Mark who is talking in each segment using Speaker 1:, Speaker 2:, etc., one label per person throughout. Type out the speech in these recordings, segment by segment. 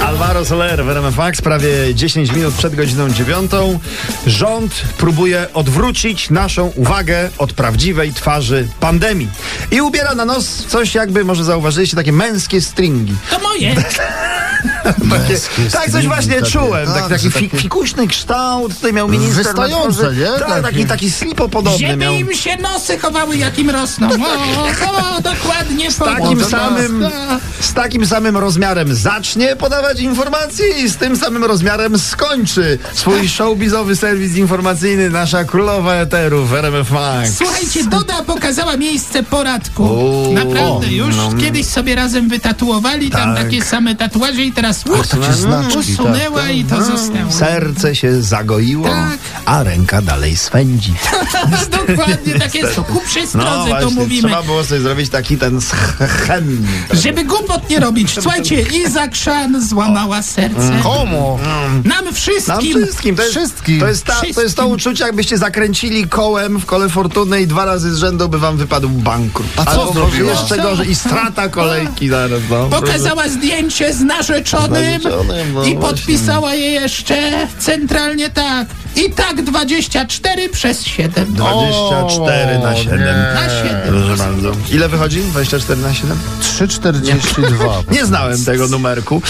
Speaker 1: Alvaro Soler w RMFAX prawie 10 minut przed godziną 9. Rząd próbuje odwrócić naszą uwagę od prawdziwej twarzy pandemii. I ubiera na nos coś jakby, może zauważyliście, takie męskie stringi.
Speaker 2: To moje.
Speaker 1: Takie,
Speaker 3: Męskie
Speaker 1: tak coś
Speaker 3: stringi
Speaker 1: właśnie
Speaker 3: takie,
Speaker 1: czułem. Tak,
Speaker 3: tak,
Speaker 1: taki
Speaker 3: że
Speaker 1: fi,
Speaker 3: takie-
Speaker 1: fikuśny kształt. Tutaj miał minister. na
Speaker 3: Wystające,
Speaker 1: twarzy.
Speaker 3: nie?
Speaker 1: Tak,
Speaker 3: Takie.
Speaker 1: taki, taki slipopodobny
Speaker 2: Żeby
Speaker 1: miał. No tak.
Speaker 2: im się nosy chowały, jakim rosną. O, o dokładnie No.
Speaker 1: Z takim,
Speaker 3: Może
Speaker 1: samym, z takim samym rozmiarem zacznie podawać informacje i z tym samym rozmiarem skończy swój showbizowy serwis informacyjny nasza królowa eterów RMF Max.
Speaker 2: Słuchajcie, Doda pokazała miejsce poradku.
Speaker 1: O,
Speaker 2: Naprawdę, już
Speaker 1: no.
Speaker 2: kiedyś sobie razem wytatuowali tam
Speaker 1: Tak.
Speaker 2: takie same tatuaże i teraz uch,
Speaker 3: takie znaczki,
Speaker 2: no, usunęła
Speaker 3: tak, tak.
Speaker 2: i to zostało.
Speaker 1: No. Serce się zagoiło,
Speaker 2: Tak.
Speaker 1: a ręka dalej swędzi.
Speaker 2: Dokładnie, takie są ku przestrodze to mówimy.
Speaker 1: No trzeba było sobie zrobić taki ten schem.
Speaker 2: Żeby głupot nie robić. Słuchajcie, Iza Krzan złamała serce.
Speaker 3: Komu?
Speaker 2: Nam
Speaker 1: Mm. Nam
Speaker 2: wszystkim.
Speaker 1: wszystkim. To jest,
Speaker 3: Wszystkim.
Speaker 1: To jest, ta, to jest to
Speaker 2: Wszystkim.
Speaker 1: uczucie, jakbyście zakręcili kołem w kole fortuny i dwa razy z rzędu by wam wypadł bankrut.
Speaker 3: A co
Speaker 1: Albo
Speaker 3: zrobiła?
Speaker 1: Jeszcze gorzej. I strata kolejki zaraz. No.
Speaker 2: Pokazała zdjęcie z narzeczonym
Speaker 1: Z narzeczonym, no
Speaker 2: i
Speaker 1: właśnie.
Speaker 2: podpisała je jeszcze centralnie tak. I tak 24 przez 7.
Speaker 1: 24 na 7.
Speaker 2: Na
Speaker 1: Eee.
Speaker 2: 7.
Speaker 1: Proszę bardzo. Ile wychodzi? 24 na 7?
Speaker 3: 3,42.
Speaker 1: Nie znałem tego numerku.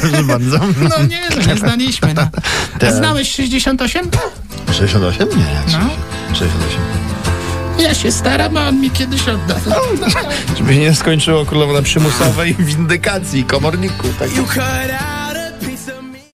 Speaker 1: Proszę bardzo.
Speaker 2: No nie, no nie znaliśmy. No. A
Speaker 1: Tak.
Speaker 2: znałeś 68?
Speaker 1: 68? Nie.
Speaker 2: No.
Speaker 1: 68.
Speaker 2: Ja się staram, a on mi kiedyś odda.
Speaker 1: Żeby się nie skończyło królowa na przymusowej windykacji komorniku. Tak.
Speaker 4: You cut out